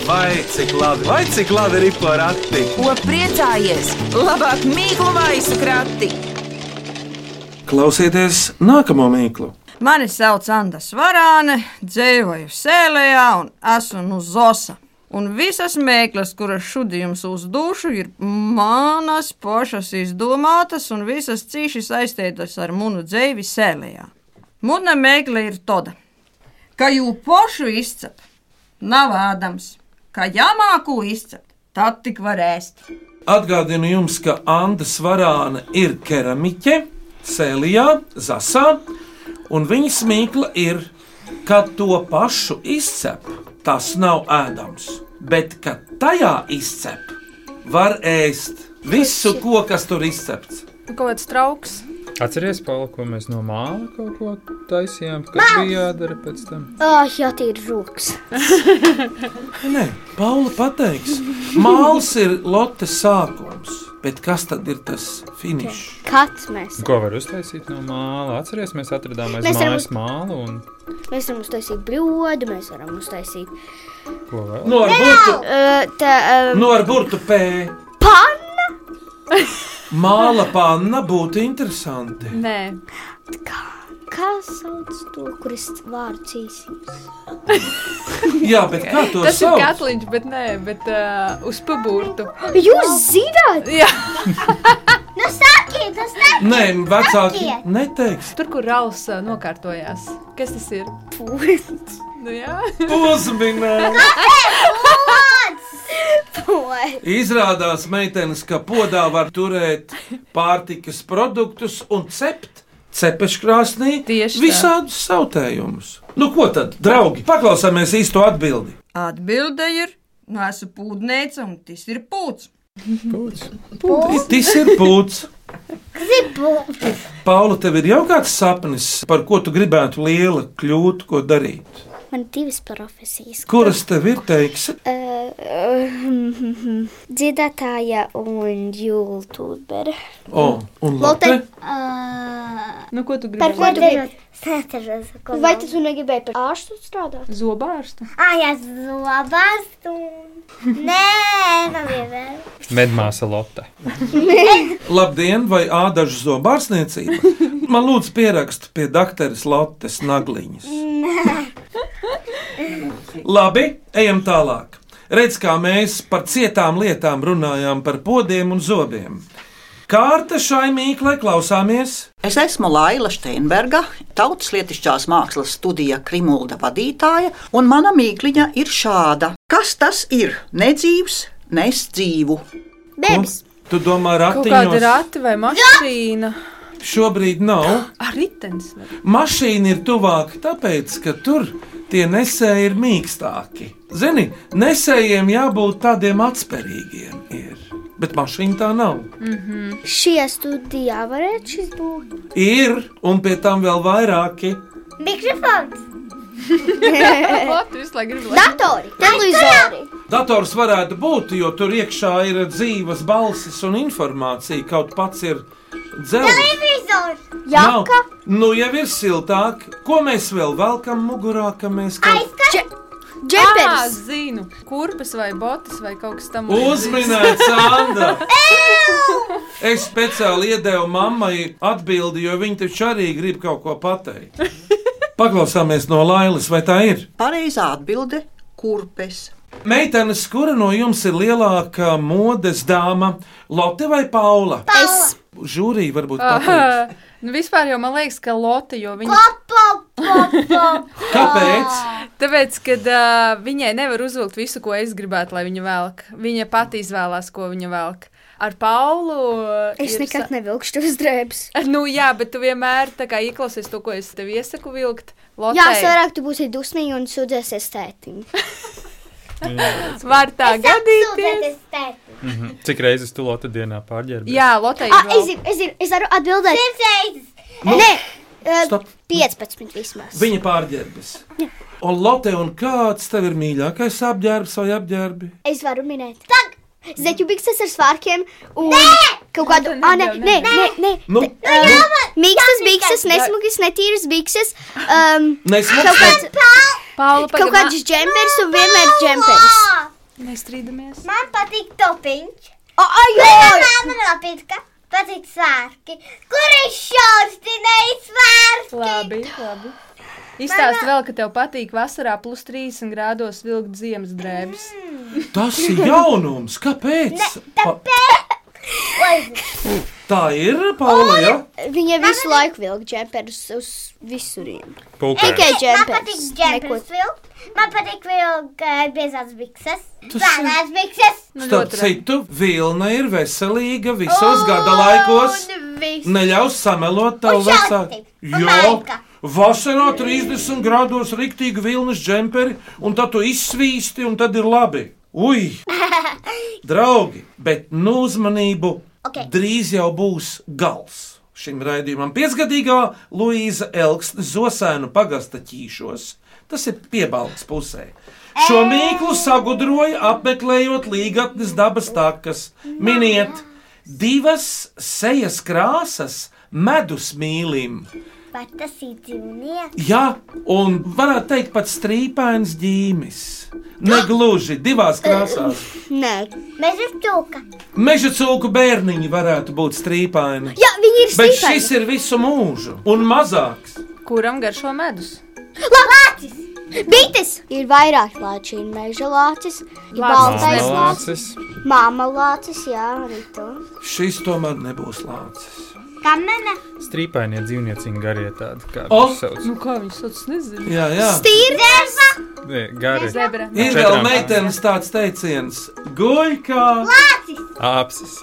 [SPEAKER 13] Vai cik labi, vai cik labi ir porakti?
[SPEAKER 14] Ko priecājies? Labāk mīklu maisu krati!
[SPEAKER 3] Klausieties nākamo mīklu!
[SPEAKER 15] Mani sauc Anna Svarāne, dzīvoju Sēlējā un esmu no Zosa. Un visas mēklas, kuras šodien jums uzdošu, ir manas pašas izdomātas un visas cīši saistītas ar munu dzīvi Sēlējā. Muna mēkla ir tāda, ka jau pošu izcep, nav ēdams, ka jāmāku izcep, tad tik var ēst.
[SPEAKER 3] Atgādinu jums, ka Anna Svarāna ir keramiķe, Sēlijā, Zasā, un viņas mīkla ir, ka to pašu izcep, tas nav ēdams, bet ka tajā izcep, var ēst visu, ko, kas tur izcepts.
[SPEAKER 5] Kaut kāds trauks.
[SPEAKER 7] Atcerieties, Paula, ko mēs no māla kaut ko taisījām, kas bija jādara pēc tam.
[SPEAKER 12] Ah, jā, tie ir rūks.
[SPEAKER 3] Nē, Paula pateiks, māls ir lotes sākums, bet kas tad ir tas finišs?
[SPEAKER 12] Kāds mēs?
[SPEAKER 7] Ko var uztaisīt no māla? Atcerieties, mēs atradām aiz
[SPEAKER 12] Mēs varam
[SPEAKER 7] mājas mālu un
[SPEAKER 12] Mēs varam uztaisīt brodu, mēs varam uztaisīt
[SPEAKER 7] ko vēl?
[SPEAKER 3] No Nu, ar burtu,
[SPEAKER 12] uh, tā, uh,
[SPEAKER 3] no ar burtu pēļi.
[SPEAKER 12] pannu.
[SPEAKER 3] Māla panna būtu interesanti.
[SPEAKER 5] Nē,
[SPEAKER 12] Kā sauc to, kuras vārds īsīs?
[SPEAKER 3] Jā, bet kā to
[SPEAKER 5] tas ir
[SPEAKER 3] sauc?
[SPEAKER 5] katliņš, bet nē, bet uh, uz pabūrtu.
[SPEAKER 12] Jūs zināt,
[SPEAKER 5] Jā,
[SPEAKER 12] (laughs) nu sakiet, tas nav
[SPEAKER 3] Nē, vecāki
[SPEAKER 12] Sakiet!
[SPEAKER 3] neteiks.
[SPEAKER 5] tur, kur Rauls uh, nokārtojās. Kas tas ir?
[SPEAKER 12] pūlis.
[SPEAKER 5] (laughs) Nu, jā,
[SPEAKER 3] Uzminēt!
[SPEAKER 12] Pūlis.
[SPEAKER 3] Izrādās, meitenes, ka podā var turēt pārtikas produktus un cept cepeškrāsnī
[SPEAKER 5] Tieši tā.
[SPEAKER 3] visādus sautējumus. Nu, ko tad, draugi, paklausāmies īsto atbildi.
[SPEAKER 15] Atbilde ir, nu esmu pūdnēca un tas ir pūds.
[SPEAKER 7] Pūts.
[SPEAKER 3] Tas ir pūcis.
[SPEAKER 12] Zibūlis.
[SPEAKER 3] Paula, tev ir jau kāds sapnis, par ko tu gribētu liela kļūt, ko darīt?
[SPEAKER 12] Man ir divas profesijas.
[SPEAKER 3] Kuras tev ir teiks?
[SPEAKER 12] Uh, uh, dziedātāja un jūtūbera.
[SPEAKER 3] O, un Lotte?
[SPEAKER 12] Uh,
[SPEAKER 5] nu, ko tu gribi?
[SPEAKER 12] par ko tu gribi?
[SPEAKER 16] Vai
[SPEAKER 12] Vai tu tu negribēji par ārstu strādāt?
[SPEAKER 5] Zobārstu.
[SPEAKER 12] Ah, jā, zobās tu. Nē, man vienmēr.
[SPEAKER 7] Medmāsa Lotte.
[SPEAKER 3] Labdien, vai ādažu zobārstniecība? Man lūdzu pierakst pie dakteres Lottes nagliņas. Labi, ejam tālāk. Redz, kā mēs par cietām lietām runājām, par podiem un zobiem. Kārta šai mīklē klausāmies.
[SPEAKER 17] Es esmu Laila Steinberga, tautslietišķās mākslas studija Krimulda vadītāja, un mana mīkliņa ir šāda. Kas tas ir? Nedzīvs, nes dzīvu.
[SPEAKER 3] Bebs. Tu domā,
[SPEAKER 5] Kaut kāda
[SPEAKER 3] ratiņos?
[SPEAKER 5] rati vai mašīna.
[SPEAKER 3] Šobrīd nav.
[SPEAKER 5] Ar ritens.
[SPEAKER 3] Mašīna ir tuvāk, tāpēc, ka tur tie nesēji ir mīkstāki. Zini, nesējiem jābūt tādiem atspērīgiem, ir. bet mašīna tā nav.
[SPEAKER 6] Mhm. Šie studijā varētu šis būt.
[SPEAKER 3] Ir, un pie tam vēl vairāki.
[SPEAKER 6] (laughs) Mikrofons. Eh.
[SPEAKER 5] Labi, visu laiku gribu.
[SPEAKER 6] Datori, televizori.
[SPEAKER 3] Dators varētu būt, jo tur iekšā ir dzīves balsis un informācija. Kaut pats ir dzēlis.
[SPEAKER 6] Televizors.
[SPEAKER 3] nu jau ir siltāk. Ko mēs vēl velkam mugurā, ka mēs kaut kā
[SPEAKER 5] Džepers. Zinu, kurpes vai botas vai kaut kas tam
[SPEAKER 3] uzminējam, Sandra? Es speciāli iedevu mammai atbildi, jo viņa taču arī grib kaut ko pateikt. Paklausāmies no Lailas, vai tā ir?
[SPEAKER 17] Pareizā atbilde - kurpes.
[SPEAKER 3] Meitenes, kura no jums ir lielākā modes dāma, Lotte vai Paula?
[SPEAKER 5] Es.
[SPEAKER 3] Žūrija varbūt pateiks.
[SPEAKER 5] Aha. (laughs) Nu, vispār jau man liekas, ka Lotte jau viņa. Kāpēc? Tāpēc, ka uh, viņai nevar uzvilkt visu, ko es gribētu, lai viņa velk. Viņa pati izvēlās, ko viņa velk. Ar Paulu. ā,
[SPEAKER 6] Es
[SPEAKER 5] ir
[SPEAKER 6] nekad nevilkšu tos drēbes.
[SPEAKER 5] (laughs) Nu, jā, bet tu vienmēr tā kā ieklausies to, ko es tev iesaku vilkt. Lotei.
[SPEAKER 6] Jā, sarāk, tu būsi dusmīgi un sūdzēsies tētim.
[SPEAKER 5] Var tā gadīties.
[SPEAKER 7] Mhm. Cik reizes tu Lotte dienā pārģērbies?
[SPEAKER 5] Jā, Lotei.
[SPEAKER 6] Ah, es zinu, es zinu, es varu atbildēt. Simtreizes.
[SPEAKER 3] Nu.
[SPEAKER 6] Nē, uh,
[SPEAKER 3] Stop.
[SPEAKER 6] 15 vismaz.
[SPEAKER 3] Viņa pārģērbis. Un Lotte, un kāds tev ir mīļākais apģērbs vai apģērbi?
[SPEAKER 6] Es varu minēt. Tag! Zeķu bikses ar svārkiem un nē! kaut kādu. Ah, Nē, nē, nē, nē, nē.
[SPEAKER 3] Nu,
[SPEAKER 6] Mīkstas bikses, nesmugas, netīras (laughs) bikses. Um,
[SPEAKER 3] Nesmugas?
[SPEAKER 6] kaut kāds-
[SPEAKER 5] Paula,
[SPEAKER 6] Kaut
[SPEAKER 5] pagaid,
[SPEAKER 6] kāds
[SPEAKER 5] man-
[SPEAKER 6] džempers un vienmēr džempers.
[SPEAKER 5] Mēs strīdamies.
[SPEAKER 12] Man patīk topiņš.
[SPEAKER 6] Ai, ai!
[SPEAKER 12] man patīk. Patīk svārki. Kur ir šausti, nevis svārki?
[SPEAKER 5] Labi, labi. Izstāst vēl, ka tev patīk vasarā plus 30 grādos vilkt ziemas drēbes.
[SPEAKER 3] Tas ir jaunums. Kāpēc? Pa- Tā ir Paula. Ja?
[SPEAKER 6] Viņa visu laiku vilka džemperus uz visuriem.
[SPEAKER 3] Pulkā.
[SPEAKER 6] Tikai
[SPEAKER 12] Man
[SPEAKER 6] džempers.
[SPEAKER 12] patīk džempers vilkt. Man patīk vilkt uh, biezās bikses. Vēlās bikses.
[SPEAKER 3] Starp citu, vilna ir veselīga visos gada
[SPEAKER 6] Oh,
[SPEAKER 3] laikos.
[SPEAKER 6] nu
[SPEAKER 3] Neļaus samelot tavu
[SPEAKER 12] Un
[SPEAKER 3] vecāku.
[SPEAKER 12] šalti. Un
[SPEAKER 3] Jo
[SPEAKER 12] malka.
[SPEAKER 3] vasarā 30 grādos riktīgi vilnas džemperi, un tad tu izsvīsti, un tad ir labi. Ui, draugi, bet nu uzmanību okay. drīz jau būs gals. Šim raidījumam piecgadīgā Luīza Elksne Zosēnu pagasta ķīšos. Tas ir piebalgs pusē. Šo mīklu sagudroja apmeklējot līgatnes dabas takas. Miniet divas sejas krāsas medus mīlim.
[SPEAKER 12] Vai tas ir dzīvnieks?
[SPEAKER 3] Jā, un varētu teikt pat strīpains ģīmis. Negluži divās krāsās.
[SPEAKER 6] Nē.
[SPEAKER 12] Mēs esam tūka.
[SPEAKER 3] Meža cūku bērniņi varētu būt strīpaini.
[SPEAKER 6] Jā, viņi ir
[SPEAKER 3] Bet
[SPEAKER 6] stīpāki.
[SPEAKER 3] šis ir visu mūžu, un mazāks.
[SPEAKER 5] Kuram garšo medus?
[SPEAKER 6] Lācis! Bites! Ir vairāk lāču, ir meža lācis, ir baltais lācis, māma lācis, jā, arī to.
[SPEAKER 3] Šis tomēr nebūs lācis.
[SPEAKER 6] Kamene!
[SPEAKER 7] Strīpainie dzīvnieciņi garie tādi, kā
[SPEAKER 3] O!
[SPEAKER 7] viņi sauc.
[SPEAKER 5] Nu, kā viņš sauc, nezinu.
[SPEAKER 3] Jā, jā.
[SPEAKER 6] Stīrdes!
[SPEAKER 7] Nē, Gari.
[SPEAKER 5] Zebra.
[SPEAKER 3] Ir vēl meitenes tāds teiciens, guļ kā
[SPEAKER 7] Apsis.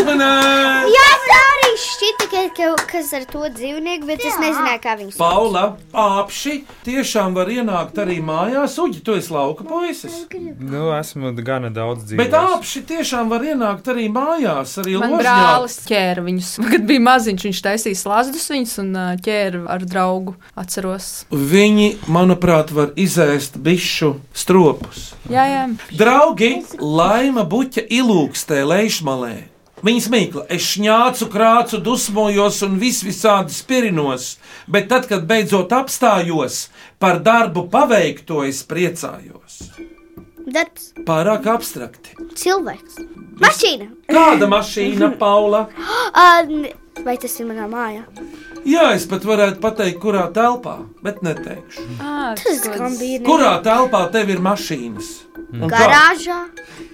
[SPEAKER 3] uzmanīgi!
[SPEAKER 6] Jā, man arī šķita, ka kaut kas ar to dzīvnieku, bet es nezināju, kā viņus.
[SPEAKER 3] Paula, apši tiešām var ienākt arī mājās. Uģi, tu esi lauka puisis.
[SPEAKER 7] Nu, esmu gana daudz dzīvojis.
[SPEAKER 3] Bet apši tiešām var ienākt arī mājās, arī
[SPEAKER 5] Man
[SPEAKER 3] ložņā.
[SPEAKER 5] brālis ķēra viņus. (laughs) Kad bija maziņš, viņš taisīja slazdus viņus un ā, ķēra ar draugu. Atceros.
[SPEAKER 3] Viņi, manuprāt, var izēst bišu stropus.
[SPEAKER 5] Jā, jā.
[SPEAKER 3] Draugi, laima buķa ilūkstē, lejšmalē. Viņas mīkla, es šņācu, krācu, dusmojos un vis visādi spirinos, bet tad, kad beidzot apstājos, par darbu paveikto es priecājos.
[SPEAKER 6] Darbs,
[SPEAKER 3] Pārāk abstrakti.
[SPEAKER 6] cilvēks, mašīna!
[SPEAKER 3] Kāda mašīna, Paula?
[SPEAKER 6] Uh, Vai tas ir manā mājā?
[SPEAKER 3] Jā, es pat varētu pateikt, kurā telpā, bet neteikšu.
[SPEAKER 6] Tas gan bija.
[SPEAKER 3] Kurā telpā tev ir mašīnas? Un kā?
[SPEAKER 6] Garāžā.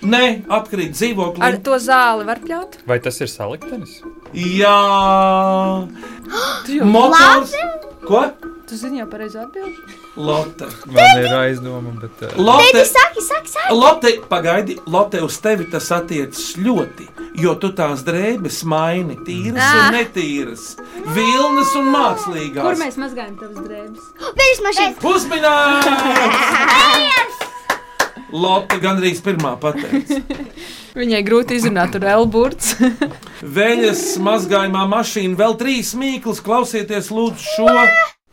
[SPEAKER 3] Nē, atkrīt dzīvoklī.
[SPEAKER 5] Ar to zāli var pļaut?
[SPEAKER 7] Vai tas ir saliktenis?
[SPEAKER 5] (gasps)
[SPEAKER 3] Jā, motors. Ko?
[SPEAKER 5] Tu zini jau pareizi atbildi?
[SPEAKER 3] Lotte.
[SPEAKER 7] Man ir aizdomām, bet. eh,
[SPEAKER 3] Lotte,
[SPEAKER 12] saki, saki, saki.
[SPEAKER 3] Lotte, pagaidi, Lotte, uz tevi tas attiecas ļoti, jo tu tās drēbes maini tīras un netīras, vilnas un
[SPEAKER 5] Ah. Kur
[SPEAKER 3] mākslīgās.
[SPEAKER 5] mēs mazgājam tavas drēbes?
[SPEAKER 6] Pēc mašīnas.
[SPEAKER 3] Pusminēts! Lotte gandrīz pirmā pateica.
[SPEAKER 5] Viņai grūti izrunāt, tur ir elburts.
[SPEAKER 3] Vēļas mazgājumā mašīna vēl trīs mīklas, klausieties lūdzu šo.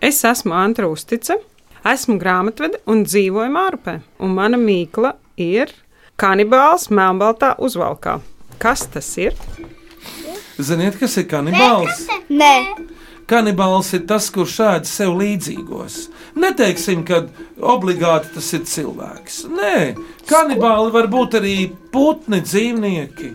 [SPEAKER 11] Es esmu Antra Uztice, esmu grāmatvede un dzīvoju Mārpē. Un mana mīkla ir kanibāls melnbaltā uzvalkā. Kas tas ir?
[SPEAKER 3] Ziniet, kas ir kanibāls?
[SPEAKER 6] Nē.
[SPEAKER 3] Kanibāls ir tas, kurš ēd sev līdzīgos. Neteiksim, ka obligāti tas ir cilvēks. Nē, kanibāli var būt arī putni, dzīvnieki,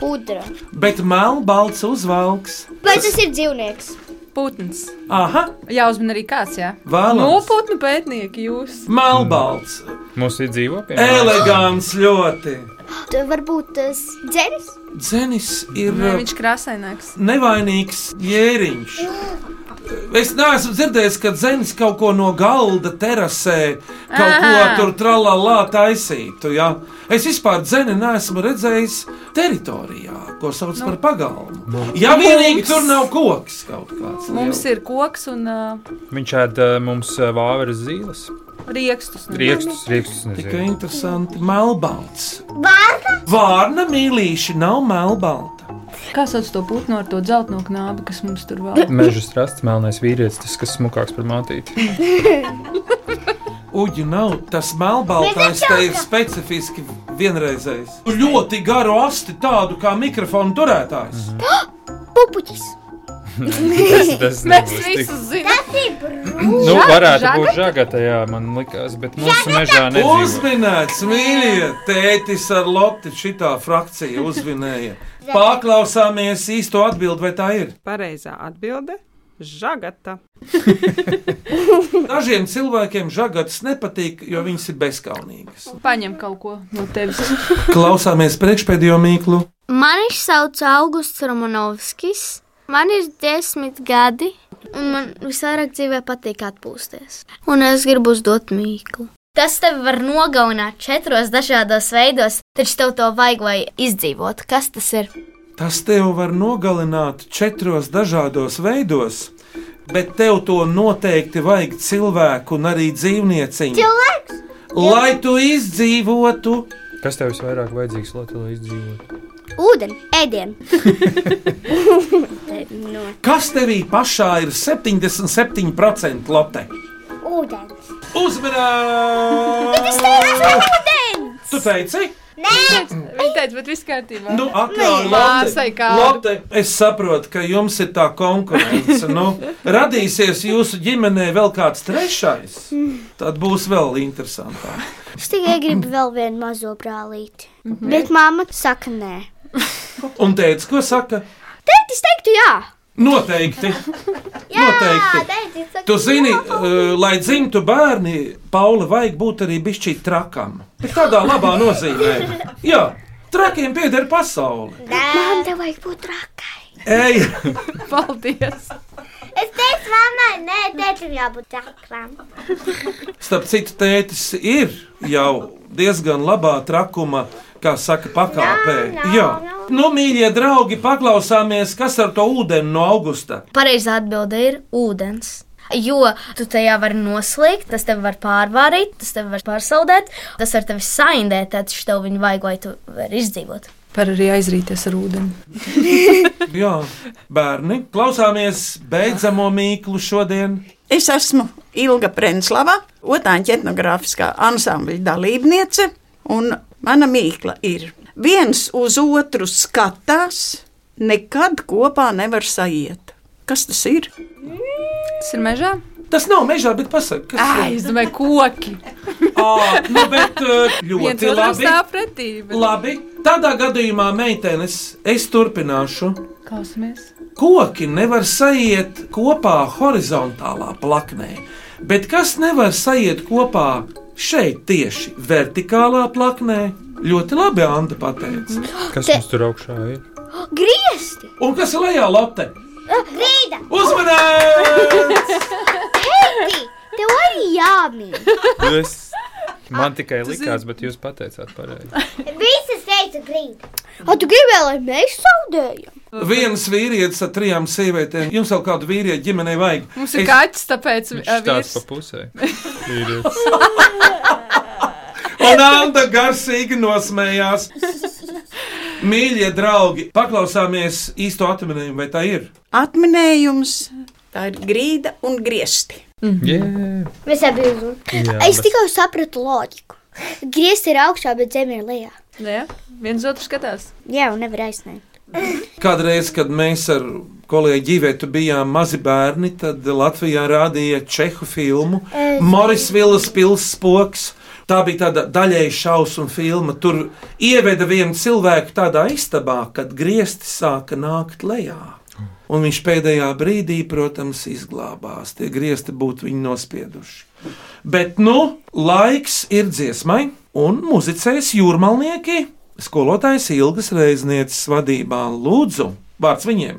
[SPEAKER 6] Kudra.
[SPEAKER 3] bet melnbalts uzvalks.
[SPEAKER 6] Vai tas ir dzīvnieks?
[SPEAKER 5] Putns.
[SPEAKER 3] Aha,
[SPEAKER 5] Jā, uzmanīgi arī kāds, jā.
[SPEAKER 3] Vēlams.
[SPEAKER 5] Noputnu pētnieki jūs.
[SPEAKER 3] melnbalts.
[SPEAKER 7] Mums ir dzīvo pie
[SPEAKER 3] Elegants ļoti.
[SPEAKER 6] Tu varbūt tas dzēris?
[SPEAKER 3] Dzenis ir
[SPEAKER 5] Nē, viņš krāsaināks.
[SPEAKER 3] nevainīgs jēriņš. Es neesmu dzirdējis, ka dzēns kaut ko no galda terasē, kaut ko
[SPEAKER 5] Ā.
[SPEAKER 3] tur trālā taisītu. Ja? Es vispār dzēni neesmu redzējis teritorijā, ko sauc nu. par pagalmu. Ja vienīgi tur nav koks kaut kāds.
[SPEAKER 5] Mums ir koks un uh,
[SPEAKER 7] Viņš ēd eh, mums eh, vāveres zīles.
[SPEAKER 5] riekstus. nu.
[SPEAKER 7] Riekstus, riekstus.
[SPEAKER 3] Tikai interesanti, melnbalts.
[SPEAKER 12] Vārda?
[SPEAKER 3] Vārna mīlīša nav melnbalta.
[SPEAKER 5] Kā sauc to putnu ar to dzeltenu knābi, kas mums tur vēl?
[SPEAKER 7] Meža strasts, melnais vīrietis, tas, kas smukāks par mātīti.
[SPEAKER 3] Uģi nav tas melnbaltais, te ir specifiski vienreizējs. Ļoti garu asti, tādu kā mikrofona turētājs.
[SPEAKER 12] Pupuķis.
[SPEAKER 7] tas, tas
[SPEAKER 12] Mēs
[SPEAKER 7] nebūs tik-
[SPEAKER 12] visu zinām. Tas ir brūns.
[SPEAKER 7] Nu, varētu būt žagata, jā, man likās, bet mūsu mežā nedzīvo.
[SPEAKER 3] Uzminēts, mīļie, tētis ar lopti šitā frakcija uzvinēja. Paklausāmies īsto atbildi, vai tā ir.
[SPEAKER 11] Pareizā atbilde - žagata.
[SPEAKER 3] Dažiem cilvēkiem žagatas nepatīk, jo viņas ir bezkaunīgas.
[SPEAKER 5] Paņem kaut ko no (laughs) tevis.
[SPEAKER 3] Klausāmies priekšpēdējo mīklu.
[SPEAKER 4] Mani sauc Augusts Romanovskis. Man ir desmit gadi, un man visvairāk dzīvē patīk atpūsties. Un es gribu uzdot mīklu.
[SPEAKER 18] Tas tev var nogalināt četros dažādos veidos, taču tev to vajag, lai izdzīvotu. Kas tas ir?
[SPEAKER 3] Tas tev var nogalināt četros dažādos veidos, bet tev to noteikti vajag cilvēku un arī dzīvnieciņu.
[SPEAKER 12] Cilvēks.
[SPEAKER 3] Lai tu izdzīvotu,
[SPEAKER 7] Kas tev visvairāk vajadzīgs, lai tu izdzīvotu?
[SPEAKER 6] Ūdeni, ēdienu.
[SPEAKER 3] kas tevī pašā ir 77% lote?
[SPEAKER 12] Ūdens.
[SPEAKER 3] Uzmanīgi!
[SPEAKER 12] Es teicu, ūdens.
[SPEAKER 3] Tu teici?
[SPEAKER 12] Nē.
[SPEAKER 5] Viņa teica, bet viss kārtībā.
[SPEAKER 3] Nu, atļauj,
[SPEAKER 5] māsai
[SPEAKER 3] Lotte,
[SPEAKER 5] kā.
[SPEAKER 3] Lotte, es saprotu, ka jums ir tā konkurence. Nu, radīsies jūsu ģimenē vēl kāds trešais. Tad būs vēl interesantāk.
[SPEAKER 6] Es tikai gribu vēl vienu mazo brālīti.
[SPEAKER 18] Mhm.
[SPEAKER 6] Bet mamma saka, nē.
[SPEAKER 3] Un teica, ko saka?
[SPEAKER 6] Tēti, es teiktu, jā.
[SPEAKER 3] Noteikti. Noteikti. Tu zini, eh, lai dzimtu bērni, Paula vajag būt arī bišķīt trakam. Bet tādā labā nozīmē. Jā, trakiem pieder pasaule.
[SPEAKER 12] Mamma, tev vajag būt traka.
[SPEAKER 3] Ej,
[SPEAKER 5] Paldies.
[SPEAKER 12] Es teicu, mammai, nē, tētim jābūt trakām.
[SPEAKER 3] starp citu, tētis ir jau diezgan labā trakuma, kā saka, pakāpē. Jā, nu, mīļie draugi, paklausāmies, kas ar to ūdeni no augusta.
[SPEAKER 18] Pareizā atbilde ir ūdens. Jo tu tajā vari noslīgt, tas tev var pārvārīt, tas tev var pārsaldēt, tas var tevi saindēt, taču tev viņu vajag, lai tu vari izdzīvot.
[SPEAKER 5] Par arī aizrīties ar ūdeni.
[SPEAKER 3] Jā, bērni, klausāmies beidzamo mīklu šodien.
[SPEAKER 19] Es esmu Ilga Prenslava, otrāņa etnogrāfiskā ansambļa dalībniece, un mana mīkla ir: viens uz otru skatās, nekad kopā nevar sajiet. Kas tas ir?
[SPEAKER 5] Tas ir mežā?
[SPEAKER 3] Tas nav mežā, bet pasakiet, kas
[SPEAKER 5] Ai, es domāju, koki.
[SPEAKER 3] Ā, nu, bet eh,
[SPEAKER 5] Viens
[SPEAKER 3] ļoti
[SPEAKER 5] otram
[SPEAKER 3] labi.
[SPEAKER 5] stāv pretī. bet-
[SPEAKER 3] Labi, tādā gadījumā, meitenes, es turpināšu.
[SPEAKER 5] Klausamies.
[SPEAKER 3] Koki nevar sajiet kopā horizontālā plaknē, bet kas nevar sajiet kopā šeit tieši vertikālā plaknē? Ļoti labi, Anta pateica.
[SPEAKER 7] Kas mums tur augšā ir?
[SPEAKER 12] Griezti!
[SPEAKER 3] Un kas ir lejā, Lotte?
[SPEAKER 12] Grīda!
[SPEAKER 3] Uzmanīgs!
[SPEAKER 12] Heidi!
[SPEAKER 6] Tev arī jāmin.
[SPEAKER 7] Jūs, man tikai likās, bet jūs pateicāt pareizi.
[SPEAKER 12] Visi teica grīda.
[SPEAKER 6] O, tu gribēji, lai mēs saudējam?
[SPEAKER 3] Viens vīrietis ar trijām sievietēm. Jums vēl kādu vīrieti ģimenei vajag?
[SPEAKER 5] Mums ir kaķis, tāpēc
[SPEAKER 7] Viņš
[SPEAKER 5] ā,
[SPEAKER 7] tāds
[SPEAKER 5] vīrs-
[SPEAKER 7] pa pusē. Vīrietis.
[SPEAKER 3] Un Anna garsīgi nosmējās. Mīļie draugi, paklausāmies īsto atmiņu, vai tā ir?
[SPEAKER 19] Atminējums tā ir grīda un griezti.
[SPEAKER 7] Yeah.
[SPEAKER 6] Mēs abi uzmanīgi.
[SPEAKER 7] Jā,
[SPEAKER 6] Es
[SPEAKER 7] bet-
[SPEAKER 6] tikai sapratu loģiku. Griezti ir augšā, bet zem ir lejā.
[SPEAKER 5] Jā, viens otru skatās.
[SPEAKER 6] Jā, un nevar aizsniegt.
[SPEAKER 3] Kādreiz, kad mēs ar kolēģi Ivetu bijām mazi bērni, tad Latvijā rādīja čehu filmu
[SPEAKER 1] Es-
[SPEAKER 3] Morisvilas pilspoks. Tā bija tāda daļēji šausmu filma. Tur ieveda vienu cilvēku tādā istabā, kad griezti sāka nākt lejā. Un viņš pēdējā brīdī, protams, izglābās. Tie griezti būtu viņu nospieduši. Bet nu, laiks ir dziesmai, un muzicēs jūrmalnieki skolotājs Ilgas Reiznieces vadībā. Lūdzu, vārds viņiem!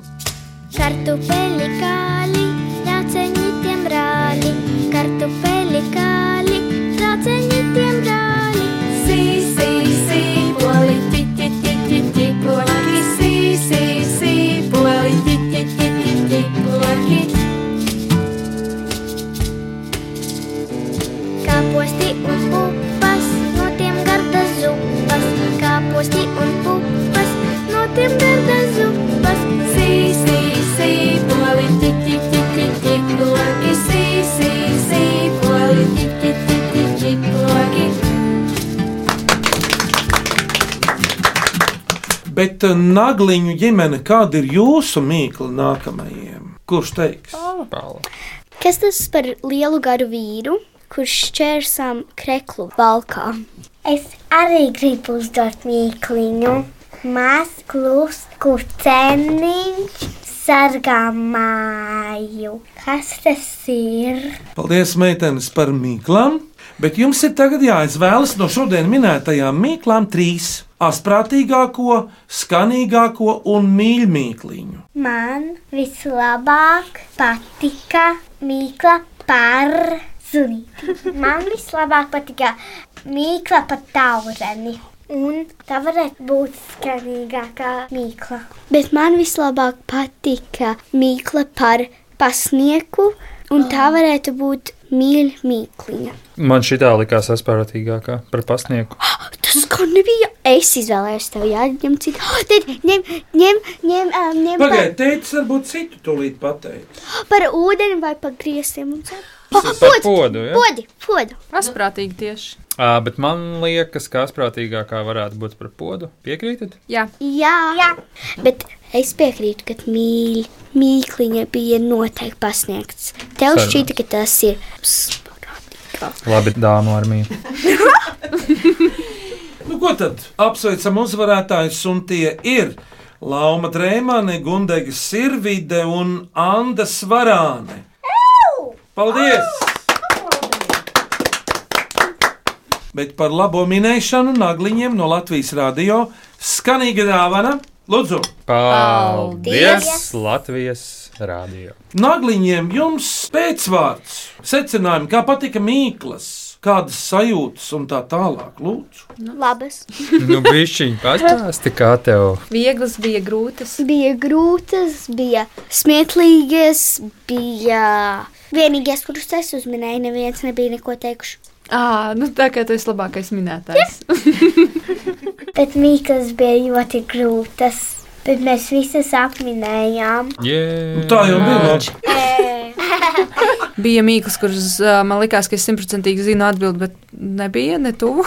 [SPEAKER 20] Kartupeli kāli, jāceņi tiem brāli, kartupeli kāli, jāceņi tiem brāli. Sī, sī, sī, poli, ti, ti, ti, ti, ti, poli, sī, sī, sī, poli, ti, ti, ti, ti, ti, poli.
[SPEAKER 12] Kāposti un pupas, no tiem garda zupas. Kāposti un pupas, no tiem garda zupas.
[SPEAKER 20] Sī, sī, sī, poli, ti, ti, ti, ti, ti, poli, sī, sī, sī, poli, ti, ti, ti, ti, ti, poli.
[SPEAKER 3] Bet eh, Nagliņu ģimene, kāda ir jūsu mīkla nākamajiem? Kurš teiks?
[SPEAKER 6] Kas tas par lielu garu vīru, kurš šķērsām kreklu balkā?
[SPEAKER 12] Es arī gribu uzdot mīkliņu. Mākslinieks klūst, kur ceniņš sargā māju. Kas tas ir?
[SPEAKER 3] Paldies, meitenes, par mīklām! Bet jums ir tagad jāizvēlas no šodien minētajām mīklām trīs - asprātīgāko, skanīgāko un mīļākāko.
[SPEAKER 12] Man vislabāk patika mīkla par zunīti. Man vislabāk patika mīkla par taureni. Un tā varētu būt skanīgākā mīkla.
[SPEAKER 6] Bet man vislabāk patika mīkla par pasnieku, un tā varētu būt mīļa mīkliņa.
[SPEAKER 7] Man šī tā likās asprātīgākā par pasnieku.
[SPEAKER 6] Tas kā nebija. Es izvēlējos tev jāņem citu. Oh, Tad ņem, ņem, ņem, um, ņem
[SPEAKER 3] Pagaidiet, teicis, varbūt citu tūlīt pateikt.
[SPEAKER 6] par, par ūdeni vai par griestiem. un tā.
[SPEAKER 7] Tas ir par podu, ja?
[SPEAKER 6] Podi, podi.
[SPEAKER 5] Asprātīgi tieši.
[SPEAKER 7] Ā, bet man liekas, ka asprātīgākā varētu būt par podu. Piekrītat?
[SPEAKER 5] Jā.
[SPEAKER 6] Jā. Jā. Bet es piekrītu, ka mīļa mīkliņa bija noteikti pasniegts. Tev
[SPEAKER 7] Sarunāts.
[SPEAKER 6] šķita, ka tas ir. Pss,
[SPEAKER 7] Labi, dāmas armija.
[SPEAKER 3] Nu, ko tad? Apsveicam uzvarētājus, un tie ir Lauma Dreimane, Gundega Sirvide un Anna Svarāne. Paldies! Bet par labo minēšanu nagliņiem no Latvijas radio skanīga dāvana. Lūdzu!
[SPEAKER 7] Paldies! Latvijas rādio.
[SPEAKER 3] Nagliņiem jums pēcvārds, secinājumi, kā patika mīklas, kādas sajūtas un tā tālāk. Lūdzu,
[SPEAKER 6] Labas.
[SPEAKER 7] Nu, bišķiņ, pastāsti, kā tev.
[SPEAKER 5] Vieglas bija grūtas.
[SPEAKER 6] Bija grūtas, bija smieklīgas, bija. Vienīgais, kurus es uzminēju, neviens nebija neko teikuši.
[SPEAKER 5] Ā, nu tā kā tu esi labākais minētājs.
[SPEAKER 12] Bet mīklas bija ļoti grūtas. Bet mēs visas apminējām.
[SPEAKER 7] Yeah.
[SPEAKER 3] tā jau bija labi.
[SPEAKER 5] (laughs) Bija mīklas, kuras ā, man likās, ka es simtprocentīgi zinu atbildi, bet nebija ne tuvu.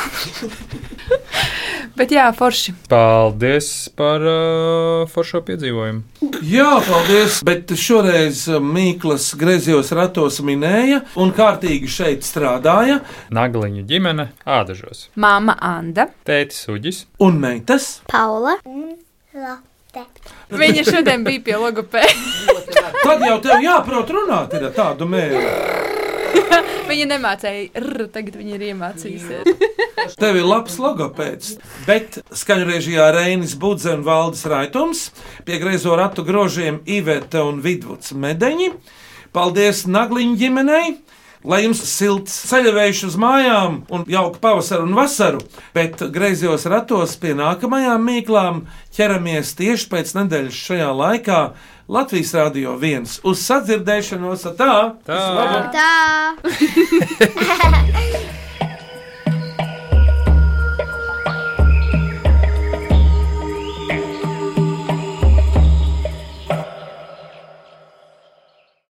[SPEAKER 5] (laughs) bet jā, forši.
[SPEAKER 7] Paldies par uh, foršo piedzīvojumu.
[SPEAKER 3] Jā, paldies, bet šoreiz uh, Mīklas griezījos ratos minēja un kārtīgi šeit strādāja.
[SPEAKER 7] Nagliņu ģimene ādažos.
[SPEAKER 5] Māma Anda.
[SPEAKER 7] Tētis Uģis.
[SPEAKER 3] Un meitas?
[SPEAKER 6] Paula.
[SPEAKER 12] Un Lotte.
[SPEAKER 6] te.
[SPEAKER 5] Viņa šodien bija pie logopēda.
[SPEAKER 3] Tad jau tev jāprot runāt ar tādu mērķi.
[SPEAKER 5] viņa nemācīja, r, tagad viņa ir iemācījusies.
[SPEAKER 3] Tev ir labs logopēds, bet skaņrežijā Reinis Budze un Valdis Raitums, pie greizo ratu grožiem Ivete un Vidvuds Medeņi. Paldies Nagliņu ģimenei! Lai jums silts ceļavējš uz mājām, un jauka pavasara un vasaru, bet griezos ratos pie nākamajām mīklām ķeramies tieši pēc nedēļas šajā laikā Latvijas Rādio 1 uz sadzirdēšanos ar tā!
[SPEAKER 6] Tā.